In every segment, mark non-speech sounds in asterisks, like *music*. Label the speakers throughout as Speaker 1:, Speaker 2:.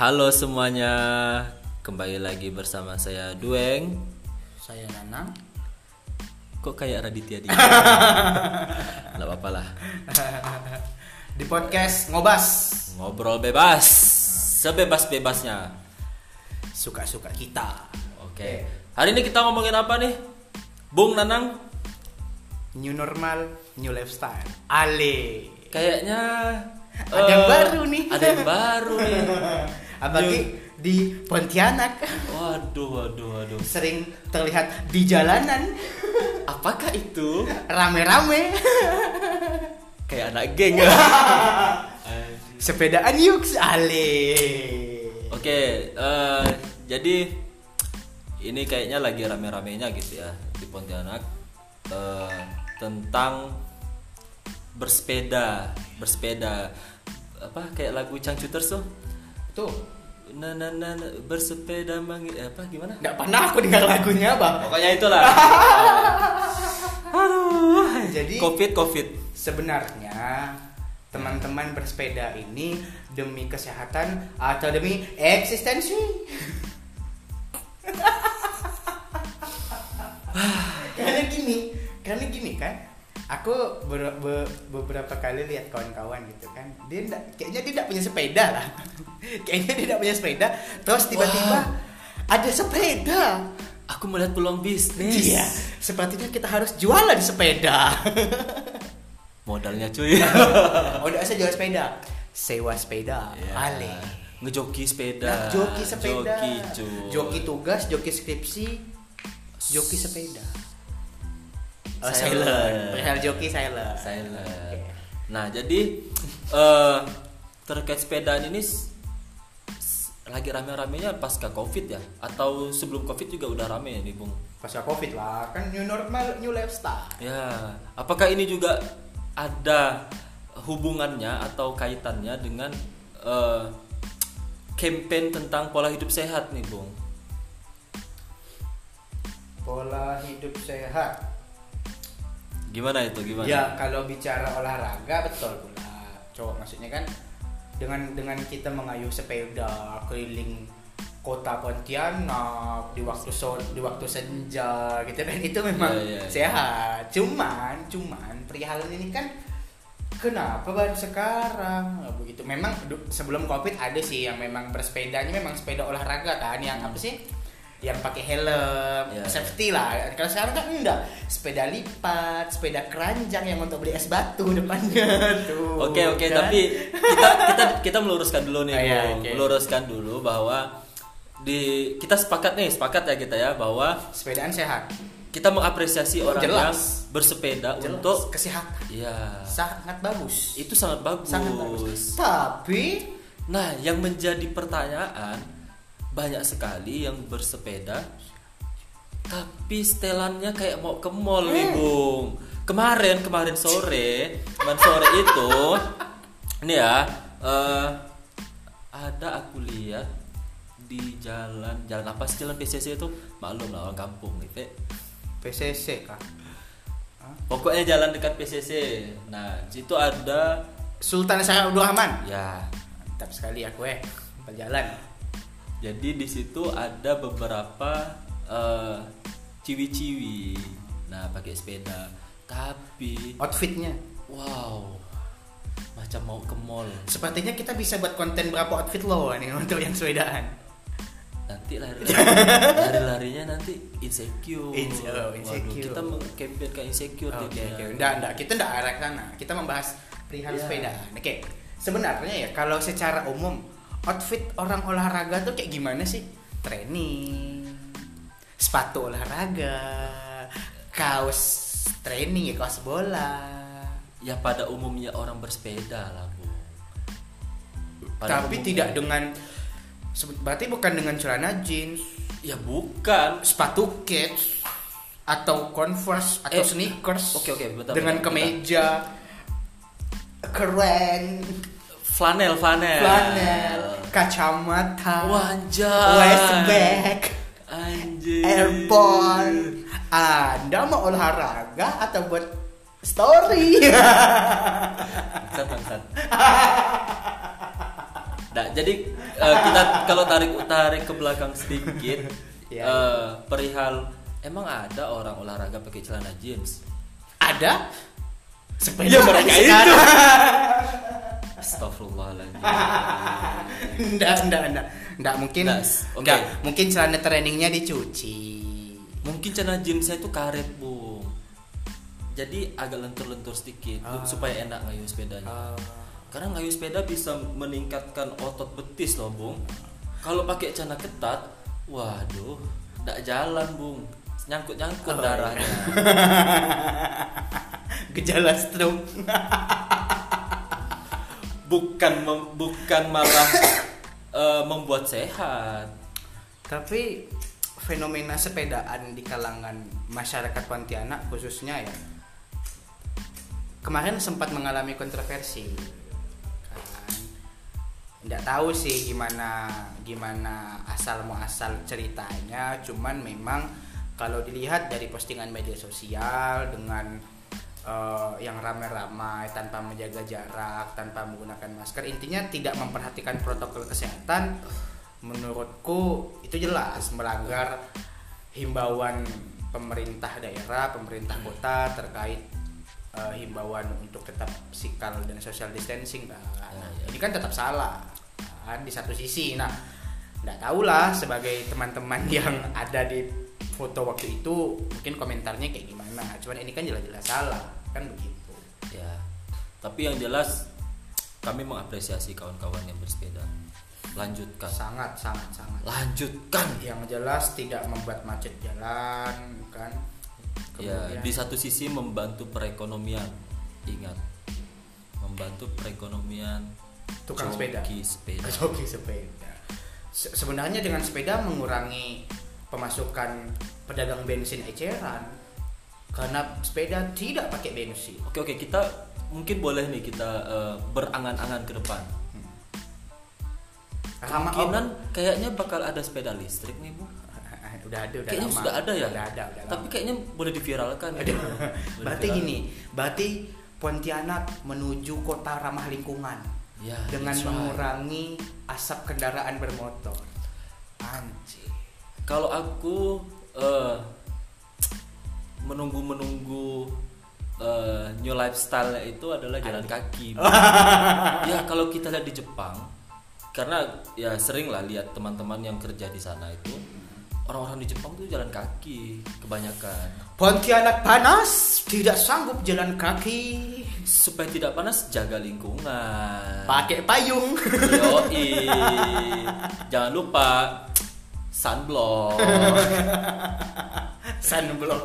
Speaker 1: Halo semuanya, kembali lagi bersama saya Dueng.
Speaker 2: Saya Nanang.
Speaker 1: Kok kayak Raditya
Speaker 2: *laughs*
Speaker 1: Dika? Gak apa-apa lah,
Speaker 2: Di podcast ngobas
Speaker 1: ngobrol bebas, sebebas-bebasnya.
Speaker 2: suka-suka kita.
Speaker 1: Oke, hari ini kita ngomongin apa nih? Bung Nanang,
Speaker 2: New normal, new lifestyle. Ale.
Speaker 1: kayaknya eh,
Speaker 2: Ada yang baru nih.
Speaker 1: Ada yang baru
Speaker 2: *laughs*
Speaker 1: nih.
Speaker 2: Apalagi di Pontianak
Speaker 1: Waduh, waduh, waduh.
Speaker 2: sering terlihat di jalanan
Speaker 1: Apakah itu
Speaker 2: rame-rame
Speaker 1: kayak anak geng?
Speaker 2: *laughs* sepedaan yuk ale.
Speaker 1: Oke, eh, jadi ini kayaknya lagi rame-ramenya gitu ya di Pontianak eh, tentang bersepeda, bersepeda apa kayak lagu Cangcuters tuh?
Speaker 2: Tuh,
Speaker 1: Na na na na, bersepeda mang apa gimana?
Speaker 2: nggak pernah aku dengar lagunya, Bang.
Speaker 1: Pokoknya
Speaker 2: *laughs*
Speaker 1: itulah.
Speaker 2: Jadi
Speaker 1: Covid Covid.
Speaker 2: sebenarnya teman-teman bersepeda ini demi kesehatan atau demi eksistensi karena gini karena gini kan aku ber- be- beberapa kali lihat kawan-kawan gitu kan dia ndak- kayaknya dia tidak punya sepeda lah *laughs* kayaknya dia tidak punya sepeda terus tiba-tiba
Speaker 1: Wah.
Speaker 2: ada sepeda
Speaker 1: Aku melihat peluang bisnis.
Speaker 2: iya sepertinya kita harus jualan sepeda *laughs*
Speaker 1: Modalnya cuy. *laughs* Iya.
Speaker 2: Oh, udah saya jual sepeda. Sewa sepeda.
Speaker 1: Ya.
Speaker 2: Ale.
Speaker 1: Ngejoki sepeda.
Speaker 2: Nah, joki sepeda.
Speaker 1: Joki cuy.
Speaker 2: Joki tugas, joki skripsi, joki sepeda. Oh,
Speaker 1: Silent.
Speaker 2: Perihal joki silent.
Speaker 1: Silent. Nah, jadi eh, terkait sepedaan ini s- s- lagi rame-ramenya pasca Covid ya atau sebelum Covid juga udah rame ya nih, Bung.
Speaker 2: Pasca Covid lah, kan new normal, new lifestyle.
Speaker 1: Ya, apakah ini juga ada hubungannya atau kaitannya dengan eh, campaign tentang pola hidup sehat nih, Bung?
Speaker 2: Pola hidup sehat.
Speaker 1: Gimana itu? Gimana?
Speaker 2: Ya kalau bicara olahraga betul pula. Coba maksudnya kan dengan dengan kita mengayuh sepeda keliling kota Pontianak di waktu sore di waktu senja gitu kan itu memang
Speaker 1: Iya, iya, iya.
Speaker 2: sehat. Cuman cuman perihal ini kan kenapa baru sekarang Nah, begitu. Memang du- sebelum covid ada sih yang memang bersepedanya memang sepeda olahraga kan yang apa sih? yang pakai helm,
Speaker 1: Hmm. Iya, iya.
Speaker 2: safety lah. Kalau sekarang kan enggak. Sepeda lipat, sepeda keranjang yang untuk beli es batu
Speaker 1: *laughs*
Speaker 2: depannya tuh.
Speaker 1: Oke oke
Speaker 2: Kan?
Speaker 1: tapi kita kita kita meluruskan dulu nih
Speaker 2: Ah, iya,
Speaker 1: Bung.
Speaker 2: oke.
Speaker 1: meluruskan dulu bahwa di kita sepakat nih sepakat ya kita ya bahwa
Speaker 2: sepedaan sehat.
Speaker 1: kita mengapresiasi
Speaker 2: Oh,
Speaker 1: orang
Speaker 2: jelas.
Speaker 1: yang bersepeda
Speaker 2: Jelas.
Speaker 1: untuk
Speaker 2: kesehatan
Speaker 1: ya
Speaker 2: sangat bagus.
Speaker 1: itu sangat bagus.
Speaker 2: Sangat bagus. Tapi
Speaker 1: Nah yang menjadi pertanyaan banyak sekali yang bersepeda tapi setelannya kayak mau ke mall nih Bung. Kemarin kemarin sore kemarin sore itu ini ya eh, ada aku lihat di jalan jalan apa sih jalan PCC itu maklum lah orang kampung gitu
Speaker 2: PCC kah?
Speaker 1: pokoknya jalan dekat PCC nah di situ ada
Speaker 2: Sultan saya Abdul Rahman.
Speaker 1: ya
Speaker 2: Mantap sekali aku eh berjalan.
Speaker 1: Jadi di situ ada beberapa eh, ciwi-ciwi. Nah, pakai sepeda. Tapi
Speaker 2: Outfitnya.
Speaker 1: wow. Macam mau ke mall.
Speaker 2: Sepertinya kita bisa buat konten berapa outfit lo nih *laughs* untuk yang sepedaan.
Speaker 1: Nanti lari lari-larinya nanti insecure.
Speaker 2: Inse-
Speaker 1: Waduh,
Speaker 2: oh, insecure.
Speaker 1: kita mengkampen ke insecure
Speaker 2: Oke,
Speaker 1: jadinya.
Speaker 2: oke. Nggak, nggak. Kita nggak arah ke sana. Kita membahas perihal
Speaker 1: Iya.
Speaker 2: sepeda. Oke. Sebenarnya ya kalau secara umum outfit orang olahraga tuh kayak gimana sih? Training, sepatu olahraga, kaos training ya kaos bola.
Speaker 1: Ya pada umumnya orang bersepeda lah, Bu.
Speaker 2: Tapi tidak
Speaker 1: ya.
Speaker 2: dengan sebe- berarti bukan dengan celana jeans,
Speaker 1: ya bukan.
Speaker 2: sepatu kets atau converse atau
Speaker 1: Eh,
Speaker 2: sneakers.
Speaker 1: oke, oke, bentar,
Speaker 2: Dengan
Speaker 1: bentar, bentar.
Speaker 2: kemeja keren.
Speaker 1: Flanel, flanel.
Speaker 2: flanel, kacamata,
Speaker 1: Wanjay.
Speaker 2: westback,
Speaker 1: Anjir.
Speaker 2: earphone. Anda mau olahraga atau buat
Speaker 1: *laughs*
Speaker 2: story?
Speaker 1: Bangsat, bangsat. Dah, Nah, jadi eh, kita kalau tarik tarik ke belakang sedikit
Speaker 2: Ya.
Speaker 1: eh, perihal emang ada orang olahraga pakai celana jeans.
Speaker 2: Ada sepeda
Speaker 1: Ya, mereka itu.
Speaker 2: sekarang.
Speaker 1: Astagfirullahaladzim.
Speaker 2: *laughs* Nggak, nggak, nggak. Nggak, mungkin
Speaker 1: Nggak, oke.
Speaker 2: nggak, mungkin celana trainingnya dicuci
Speaker 1: Mungkin celana jeans saya itu karet, Bung. Jadi agak lentur-lentur sedikit
Speaker 2: Ah.
Speaker 1: supaya enak ngayu sepedanya. Karena ngayu sepeda bisa meningkatkan otot betis loh, Bung. Kalau pakai celana ketat, waduh, tidak jalan, Bung. Nyangkut-nyangkut
Speaker 2: Oh,
Speaker 1: darahnya.
Speaker 2: gejala stroke
Speaker 1: Bukan mem- bukan malah eh, membuat sehat.
Speaker 2: tapi fenomena sepedaan di kalangan masyarakat Pontianak khususnya ya kemarin sempat mengalami kontroversi kan nggak tahu sih gimana gimana asal muasal ceritanya cuman memang kalau dilihat dari postingan media sosial dengan eh, yang ramai-ramai tanpa menjaga jarak tanpa menggunakan masker intinya tidak memperhatikan protokol kesehatan menurutku itu jelas melanggar himbauan pemerintah daerah pemerintah kota terkait eh, himbauan untuk tetap sikal dan social distancing kan. Nah, ini kan tetap salah kan di satu sisi. Nah, nggak tahu lah sebagai teman-teman *laughs* yang ada di foto waktu itu mungkin komentarnya kayak gimana. Cuman ini kan jelas-jelas salah kan begitu.
Speaker 1: Ya. Tapi yang jelas kami mengapresiasi kawan-kawan yang bersepeda. Lanjutkan.
Speaker 2: Sangat sangat sangat.
Speaker 1: Lanjutkan.
Speaker 2: Yang jelas tidak membuat macet jalan kan.
Speaker 1: Ya,
Speaker 2: Kemudian-
Speaker 1: di satu sisi membantu perekonomian. Ingat. Membantu perekonomian
Speaker 2: Tukang sepeda.
Speaker 1: joki sepeda.
Speaker 2: joki sepeda. Se- sebenarnya dengan sepeda mengurangi pemasukan pedagang bensin eceran karena sepeda tidak pakai bensin.
Speaker 1: Oke oke kita mungkin boleh nih kita eh, berangan-angan ke depan.
Speaker 2: Hmm. Sama
Speaker 1: Kemungkinan kayaknya bakal ada sepeda listrik nih bu.
Speaker 2: *laughs* udah ada, udah
Speaker 1: kayaknya
Speaker 2: lama.
Speaker 1: sudah ada ya.
Speaker 2: Udah ada, udah
Speaker 1: Tapi
Speaker 2: lama.
Speaker 1: kayaknya boleh diviralkan. ya,
Speaker 2: *laughs* Aduh.
Speaker 1: Bu. Boleh
Speaker 2: berarti
Speaker 1: diviralkan.
Speaker 2: gini, berarti Pontianak menuju kota ramah lingkungan
Speaker 1: Ya,
Speaker 2: dengan
Speaker 1: that's right.
Speaker 2: mengurangi asap kendaraan bermotor. Anjir.
Speaker 1: Kalau aku eh, menunggu menunggu eh, new lifestyle itu adalah jalan kaki. Bu. ya kalau kita lihat di Jepang, karena ya sering lah lihat teman-teman yang kerja di sana itu orang-orang di Jepang tuh jalan kaki kebanyakan.
Speaker 2: Pontianak panas, tidak sanggup jalan kaki.
Speaker 1: supaya tidak panas jaga lingkungan
Speaker 2: Pakai payung. *laughs*
Speaker 1: yoi jangan lupa sunblock
Speaker 2: sunblock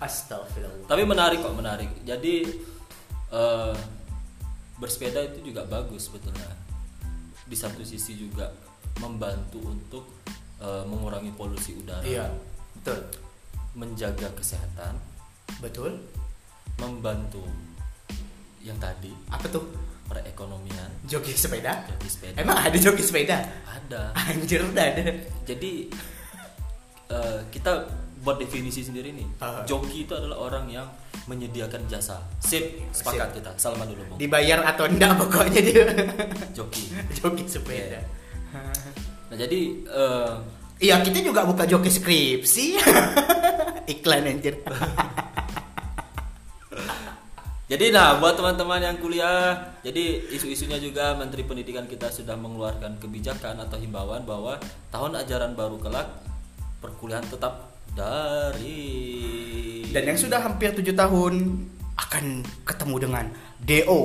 Speaker 2: astagfirullah
Speaker 1: tapi menarik kok menarik jadi eh, bersepeda itu juga bagus sebetulnya di satu sisi juga membantu untuk eh, mengurangi polusi udara
Speaker 2: iya betul
Speaker 1: menjaga kesehatan
Speaker 2: betul
Speaker 1: membantu yang tadi
Speaker 2: apa tuh
Speaker 1: perekonomian
Speaker 2: joki sepeda
Speaker 1: jadi sepeda
Speaker 2: emang ada joki sepeda
Speaker 1: ada
Speaker 2: anjir udah ada
Speaker 1: Jadi eh, kita buat definisi sendiri nih.
Speaker 2: Ah.
Speaker 1: Joki itu adalah orang yang menyediakan jasa. Sip, sepakat
Speaker 2: Sip.
Speaker 1: kita. Salman dulu, Bung.
Speaker 2: dibayar atau enggak pokoknya dia *laughs*
Speaker 1: Joki.
Speaker 2: joki sepeda
Speaker 1: Nah, jadi eh,
Speaker 2: iya kita juga buka joki skripsi *laughs* iklan anjir
Speaker 1: jadi nah buat teman-teman yang kuliah, jadi isu-isunya juga Menteri Pendidikan kita sudah mengeluarkan kebijakan atau himbauan bahwa tahun ajaran baru kelak perkuliahan tetap dari
Speaker 2: dan yang sudah hampir 7 tahun akan ketemu dengan DO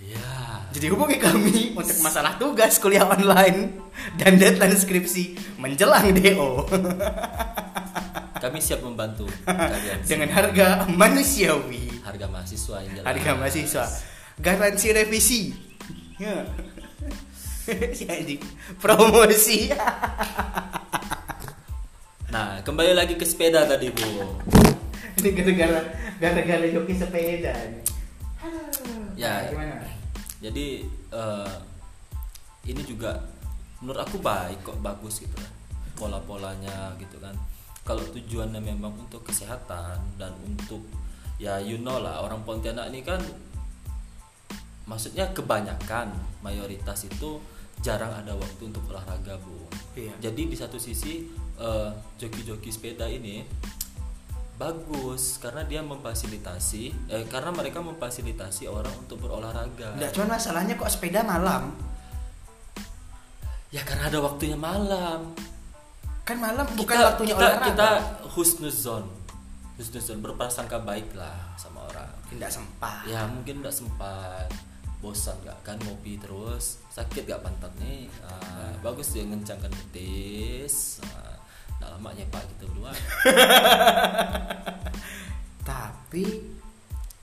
Speaker 1: ya
Speaker 2: Jadi hubungi kami untuk masalah tugas kuliah online dan deadline skripsi menjelang DO
Speaker 1: kami siap
Speaker 2: *laughs*
Speaker 1: membantu kalian
Speaker 2: dengan harga manusiawi,
Speaker 1: harga mahasiswa yang jelas.
Speaker 2: harga mahasiswa, garansi revisi. Ya. *laughs* Si anjing. Promosi. *laughs*
Speaker 1: Nah, kembali lagi ke sepeda tadi, Bu.
Speaker 2: Ini gara-gara gara-gara joki sepeda. nih.
Speaker 1: Ya.
Speaker 2: Nah, Gimana?
Speaker 1: Jadi eh, ini juga menurut aku baik kok, bagus gitu lah. Pola-polanya gitu kan. Kalau tujuannya memang untuk kesehatan dan untuk ya you know lah orang Pontianak ini kan maksudnya kebanyakan mayoritas itu jarang ada waktu untuk olahraga bu
Speaker 2: Iya.
Speaker 1: Ya, jadi di satu sisi eh, joki-joki sepeda ini bagus karena dia memfasilitasi eh, karena mereka memfasilitasi orang untuk berolahraga
Speaker 2: Nggak, cuman masalahnya kok sepeda malam.
Speaker 1: ya karena ada waktunya malam
Speaker 2: Kan malam bukan
Speaker 1: kita,
Speaker 2: waktunya
Speaker 1: kita,
Speaker 2: olahraga.
Speaker 1: kita husnuzon husnuzon berprasangka baik lah sama orang
Speaker 2: tidak sempat.
Speaker 1: ya mungkin nggak sempat bosan nggak kan ngopi terus sakit nggak pantat nih Ah, bagus dia ngencangkan betis Ah, nggak lama nyepak gitu, kita berdua
Speaker 2: Tapi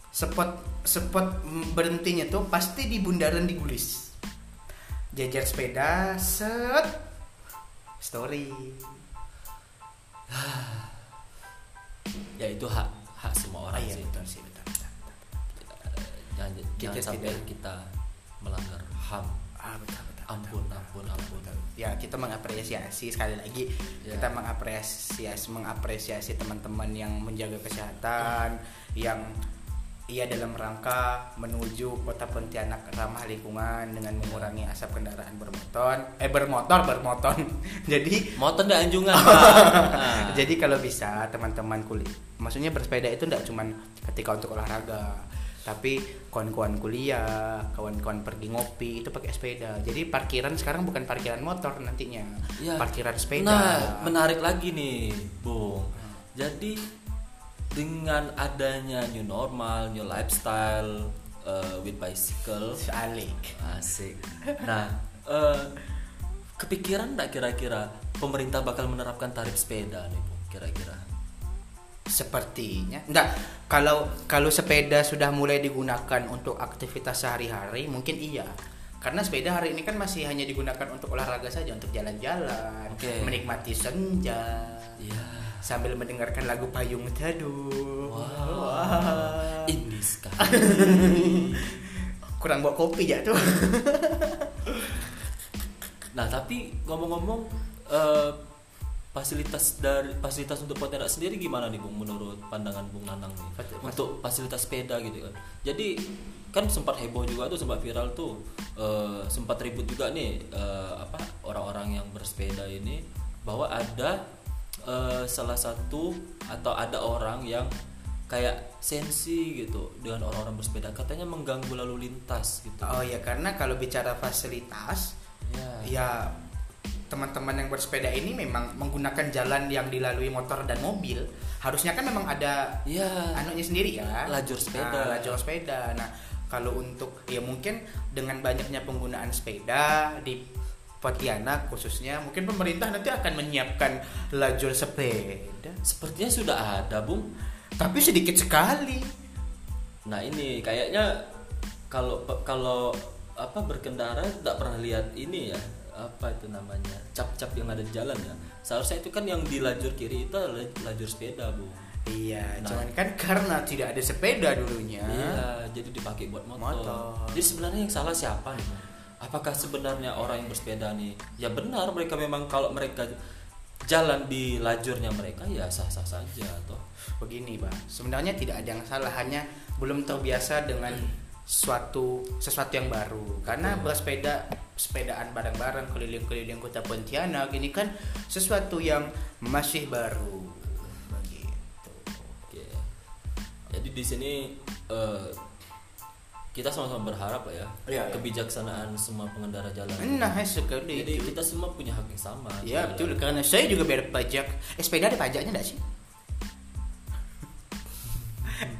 Speaker 2: spot spot berhentinya tuh pasti di bundaran di Gulis. Jajar sepeda, set story.
Speaker 1: ya itu hak hak semua
Speaker 2: Ah,
Speaker 1: orang
Speaker 2: iya,
Speaker 1: sih
Speaker 2: betul sih, betul, betul, betul.
Speaker 1: Eh, jangan,
Speaker 2: Kita
Speaker 1: jangan sampai
Speaker 2: tidak-
Speaker 1: kita melanggar ham
Speaker 2: Ah, betul, betul, betul.
Speaker 1: ampun ampun ampun
Speaker 2: ya kita mengapresiasi sekali lagi
Speaker 1: Ya.
Speaker 2: kita mengapresiasi mengapresiasi teman-teman yang menjaga kesehatan yang ia dalam rangka menuju kota Pontianak ramah lingkungan dengan mengurangi asap kendaraan bermotor eh bermotor bermotor *laughs* jadi
Speaker 1: mau tenda anjungan Pak. Ah.
Speaker 2: *laughs* jadi kalau bisa teman-teman kulit maksudnya bersepeda itu tidak cuman ketika untuk olahraga tapi kawan-kawan kuliah, kawan-kawan pergi ngopi itu pakai sepeda. Jadi parkiran sekarang bukan parkiran motor nantinya,
Speaker 1: Ya.
Speaker 2: parkiran sepeda. Hmm.
Speaker 1: Nah, menarik lagi nih, Bung. Jadi dengan adanya new normal, new lifestyle eh, with bicycle,
Speaker 2: Alik.
Speaker 1: asik. Nah, eh, kepikiran nggak kira-kira pemerintah bakal menerapkan tarif sepeda nih, Bung? Kira-kira?
Speaker 2: Sepertinya. Enggak, kalau kalau sepeda sudah mulai digunakan untuk aktivitas sehari-hari mungkin iya. Karena sepeda hari ini kan masih hanya digunakan untuk olahraga saja, untuk jalan-jalan,
Speaker 1: Oke.
Speaker 2: menikmati senja.
Speaker 1: Ya,
Speaker 2: sambil mendengarkan lagu payung teduh.
Speaker 1: Wow.
Speaker 2: Wah.
Speaker 1: ini sekali.
Speaker 2: Kurang bawa kopi ya
Speaker 1: *laughs*
Speaker 2: tuh.
Speaker 1: Nah, tapi ngomong-ngomong eh, fasilitas dari fasilitas untuk Pontianak sendiri gimana nih Bung menurut pandangan Bung Nanang nih?
Speaker 2: Fasilitas-
Speaker 1: Untuk fasilitas sepeda gitu kan. Jadi kan sempat heboh juga tuh sempat viral tuh eh, sempat ribut juga nih eh, apa orang-orang yang bersepeda ini bahwa ada eh, salah satu atau ada orang yang kayak sensi gitu dengan orang-orang bersepeda katanya mengganggu lalu lintas gitu.
Speaker 2: Oh ya karena kalau bicara fasilitas,
Speaker 1: Ya.
Speaker 2: ya teman-teman yang bersepeda ini memang menggunakan jalan yang dilalui motor dan mobil. Harusnya kan memang ada
Speaker 1: Ya.
Speaker 2: anunya sendiri ya.
Speaker 1: Lajur sepeda.
Speaker 2: Nah, lajur sepeda. Nah, kalau untuk ya mungkin dengan banyaknya penggunaan sepeda di Pontianak khususnya mungkin pemerintah nanti akan menyiapkan lajur sepeda.
Speaker 1: Sepertinya sudah ada, Bung.
Speaker 2: Tapi sedikit sekali.
Speaker 1: Nah, ini kayaknya kalau kalau apa berkendara tidak pernah lihat ini ya. Apa itu namanya? Cap-cap yang ada di jalan ya. Seharusnya itu kan yang di lajur kiri itu adalah lajur sepeda, Bung.
Speaker 2: Iya,
Speaker 1: Nah.
Speaker 2: cuman kan karena tidak ada sepeda dulunya.
Speaker 1: Iya, jadi dipakai buat motor.
Speaker 2: Ya. Motor.
Speaker 1: Jadi sebenarnya yang salah siapa nih? Bung? Apakah sebenarnya orang yang bersepeda nih? Ya benar, mereka memang kalau mereka jalan di lajurnya mereka ya sah-sah saja toh.
Speaker 2: Begini, Bang. Sebenarnya tidak ada yang salah, hanya belum terbiasa dengan
Speaker 1: Hmm.
Speaker 2: suatu sesuatu yang baru. Karena
Speaker 1: Betul.
Speaker 2: bersepeda sepedaan bareng-bareng keliling-keliling kota Pontianak ini kan sesuatu yang masih baru. Begitu.
Speaker 1: Oke. Jadi di sini eh, kita sama-sama berharap lah ya
Speaker 2: Iya, iya.
Speaker 1: kebijaksanaan semua pengendara jalan.
Speaker 2: Nah, sekali.
Speaker 1: Jadi
Speaker 2: itu.
Speaker 1: kita semua punya hak yang sama. Gitu.
Speaker 2: Ya betul karena saya juga bayar pajak. Eh, sepeda ada pajaknya enggak sih? *laughs*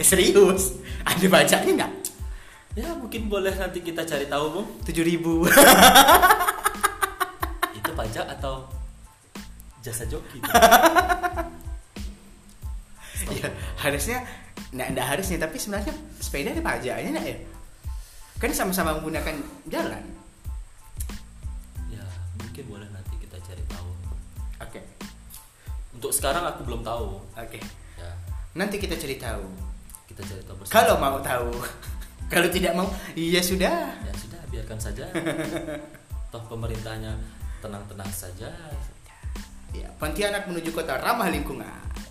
Speaker 2: Eh, Serius? Ada pajaknya enggak?
Speaker 1: Ya mungkin boleh nanti kita cari tahu bung.
Speaker 2: *laughs* 7000.
Speaker 1: Itu pajak atau jasa
Speaker 2: *laughs*
Speaker 1: joki?
Speaker 2: ya, harusnya enggak enggak harusnya tapi sebenarnya sepeda ada pajaknya enggak ya? Kan sama-sama menggunakan jalan.
Speaker 1: ya mungkin boleh nanti kita cari tahu.
Speaker 2: Oke.
Speaker 1: Untuk sekarang aku belum tahu.
Speaker 2: Oke.
Speaker 1: Ya
Speaker 2: Nanti kita cari tahu.
Speaker 1: kita cari tahu bersama.
Speaker 2: Kalau mau tahu. *laughs* Kalau tidak mau, iya sudah.
Speaker 1: ya sudah biarkan saja. Toh pemerintahnya tenang-tenang saja.
Speaker 2: Ya,
Speaker 1: Ah.
Speaker 2: Pontianak menuju kota ramah lingkungan.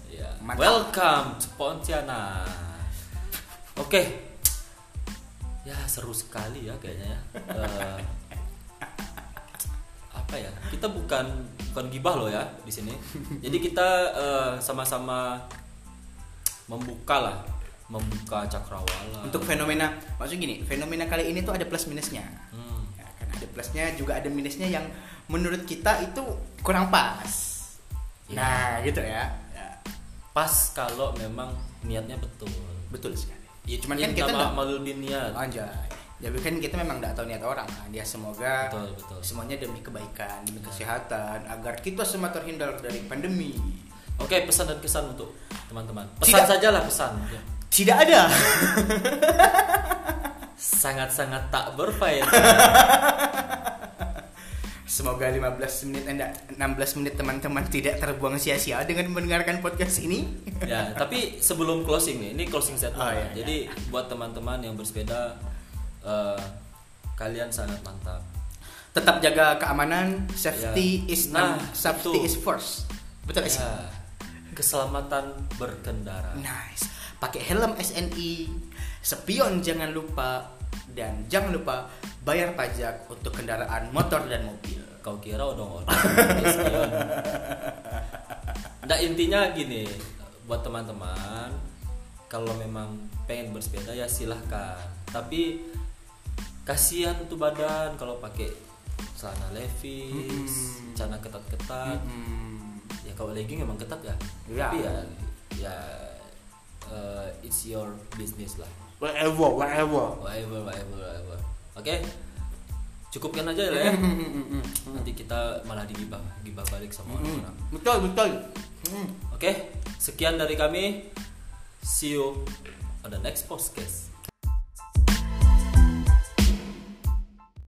Speaker 1: Ya.
Speaker 2: Mantap.
Speaker 1: Welcome to Pontianak. Oke. Ya seru sekali ya kayaknya ya. Eh, apa ya? Kita bukan bukan gibah loh ya di sini. Jadi kita eh, sama-sama membuka lah, membuka cakrawala.
Speaker 2: Untuk fenomena, maksud gini, fenomena kali ini tuh ada plus minusnya.
Speaker 1: Hmm.
Speaker 2: Ya, kan ada plusnya juga ada minusnya yang menurut kita itu kurang pas.
Speaker 1: Ya.
Speaker 2: Nah, gitu ya. ya.
Speaker 1: Pas kalau memang niatnya betul.
Speaker 2: Betul sekali. Ya cuman
Speaker 1: Cuman
Speaker 2: kan kita nggak-
Speaker 1: malu niat.
Speaker 2: Anjay. Ya kan kita memang nggak tahu niat orang kan. Ya semoga
Speaker 1: Betul, betul. Iya.
Speaker 2: semuanya demi kebaikan, demi
Speaker 1: Benar.
Speaker 2: kesehatan agar kita semua terhindar dari pandemi.
Speaker 1: Oke, pesan dan kesan untuk teman-teman. Pesan
Speaker 2: Tidak.
Speaker 1: sajalah pesan. Ya.
Speaker 2: Tidak ada. *laughs*
Speaker 1: Sangat-sangat tak berfaedah.
Speaker 2: Semoga 15 menit eh, anda 16 menit teman-teman tidak terbuang sia-sia dengan mendengarkan podcast ini.
Speaker 1: ya, tapi sebelum closing nih, ini closing statement.
Speaker 2: Oh, iya,
Speaker 1: Jadi buat teman-teman yang bersepeda eh, kalian sangat mantap.
Speaker 2: Tetap jaga keamanan, safety
Speaker 1: Ya.
Speaker 2: is
Speaker 1: Nah,
Speaker 2: safety
Speaker 1: itu.
Speaker 2: is first. Betul gak sih?
Speaker 1: Ya, keselamatan berkendara.
Speaker 2: Nice. Pakai helm SNI, spion jangan lupa dan jangan lupa bayar pajak untuk kendaraan motor dan mobil.
Speaker 1: Kau kira odong-odong. Espion. Nah, intinya gini, buat teman-teman, kalau memang pengen bersepeda ya silahkan. Tapi kasihan tuh badan kalau pakai celana levis,
Speaker 2: Mm-mm.
Speaker 1: celana ketat-ketat.
Speaker 2: Hmm.
Speaker 1: Ya kalau legging emang ketat ya.
Speaker 2: Iya.
Speaker 1: Tapi ya ya eh, it's your business lah.
Speaker 2: Whatever, whatever.
Speaker 1: Whatever, whatever, whatever. Oke. Cukupkan aja
Speaker 2: eh?
Speaker 1: lah ya.
Speaker 2: Hmm,
Speaker 1: Nanti kita malah digibah, gibah balik
Speaker 2: Mm-hmm.
Speaker 1: sama orang-orang.
Speaker 2: Hmm, Betul, betul. Hmm.
Speaker 1: Oke, sekian dari kami. See you on the next podcast.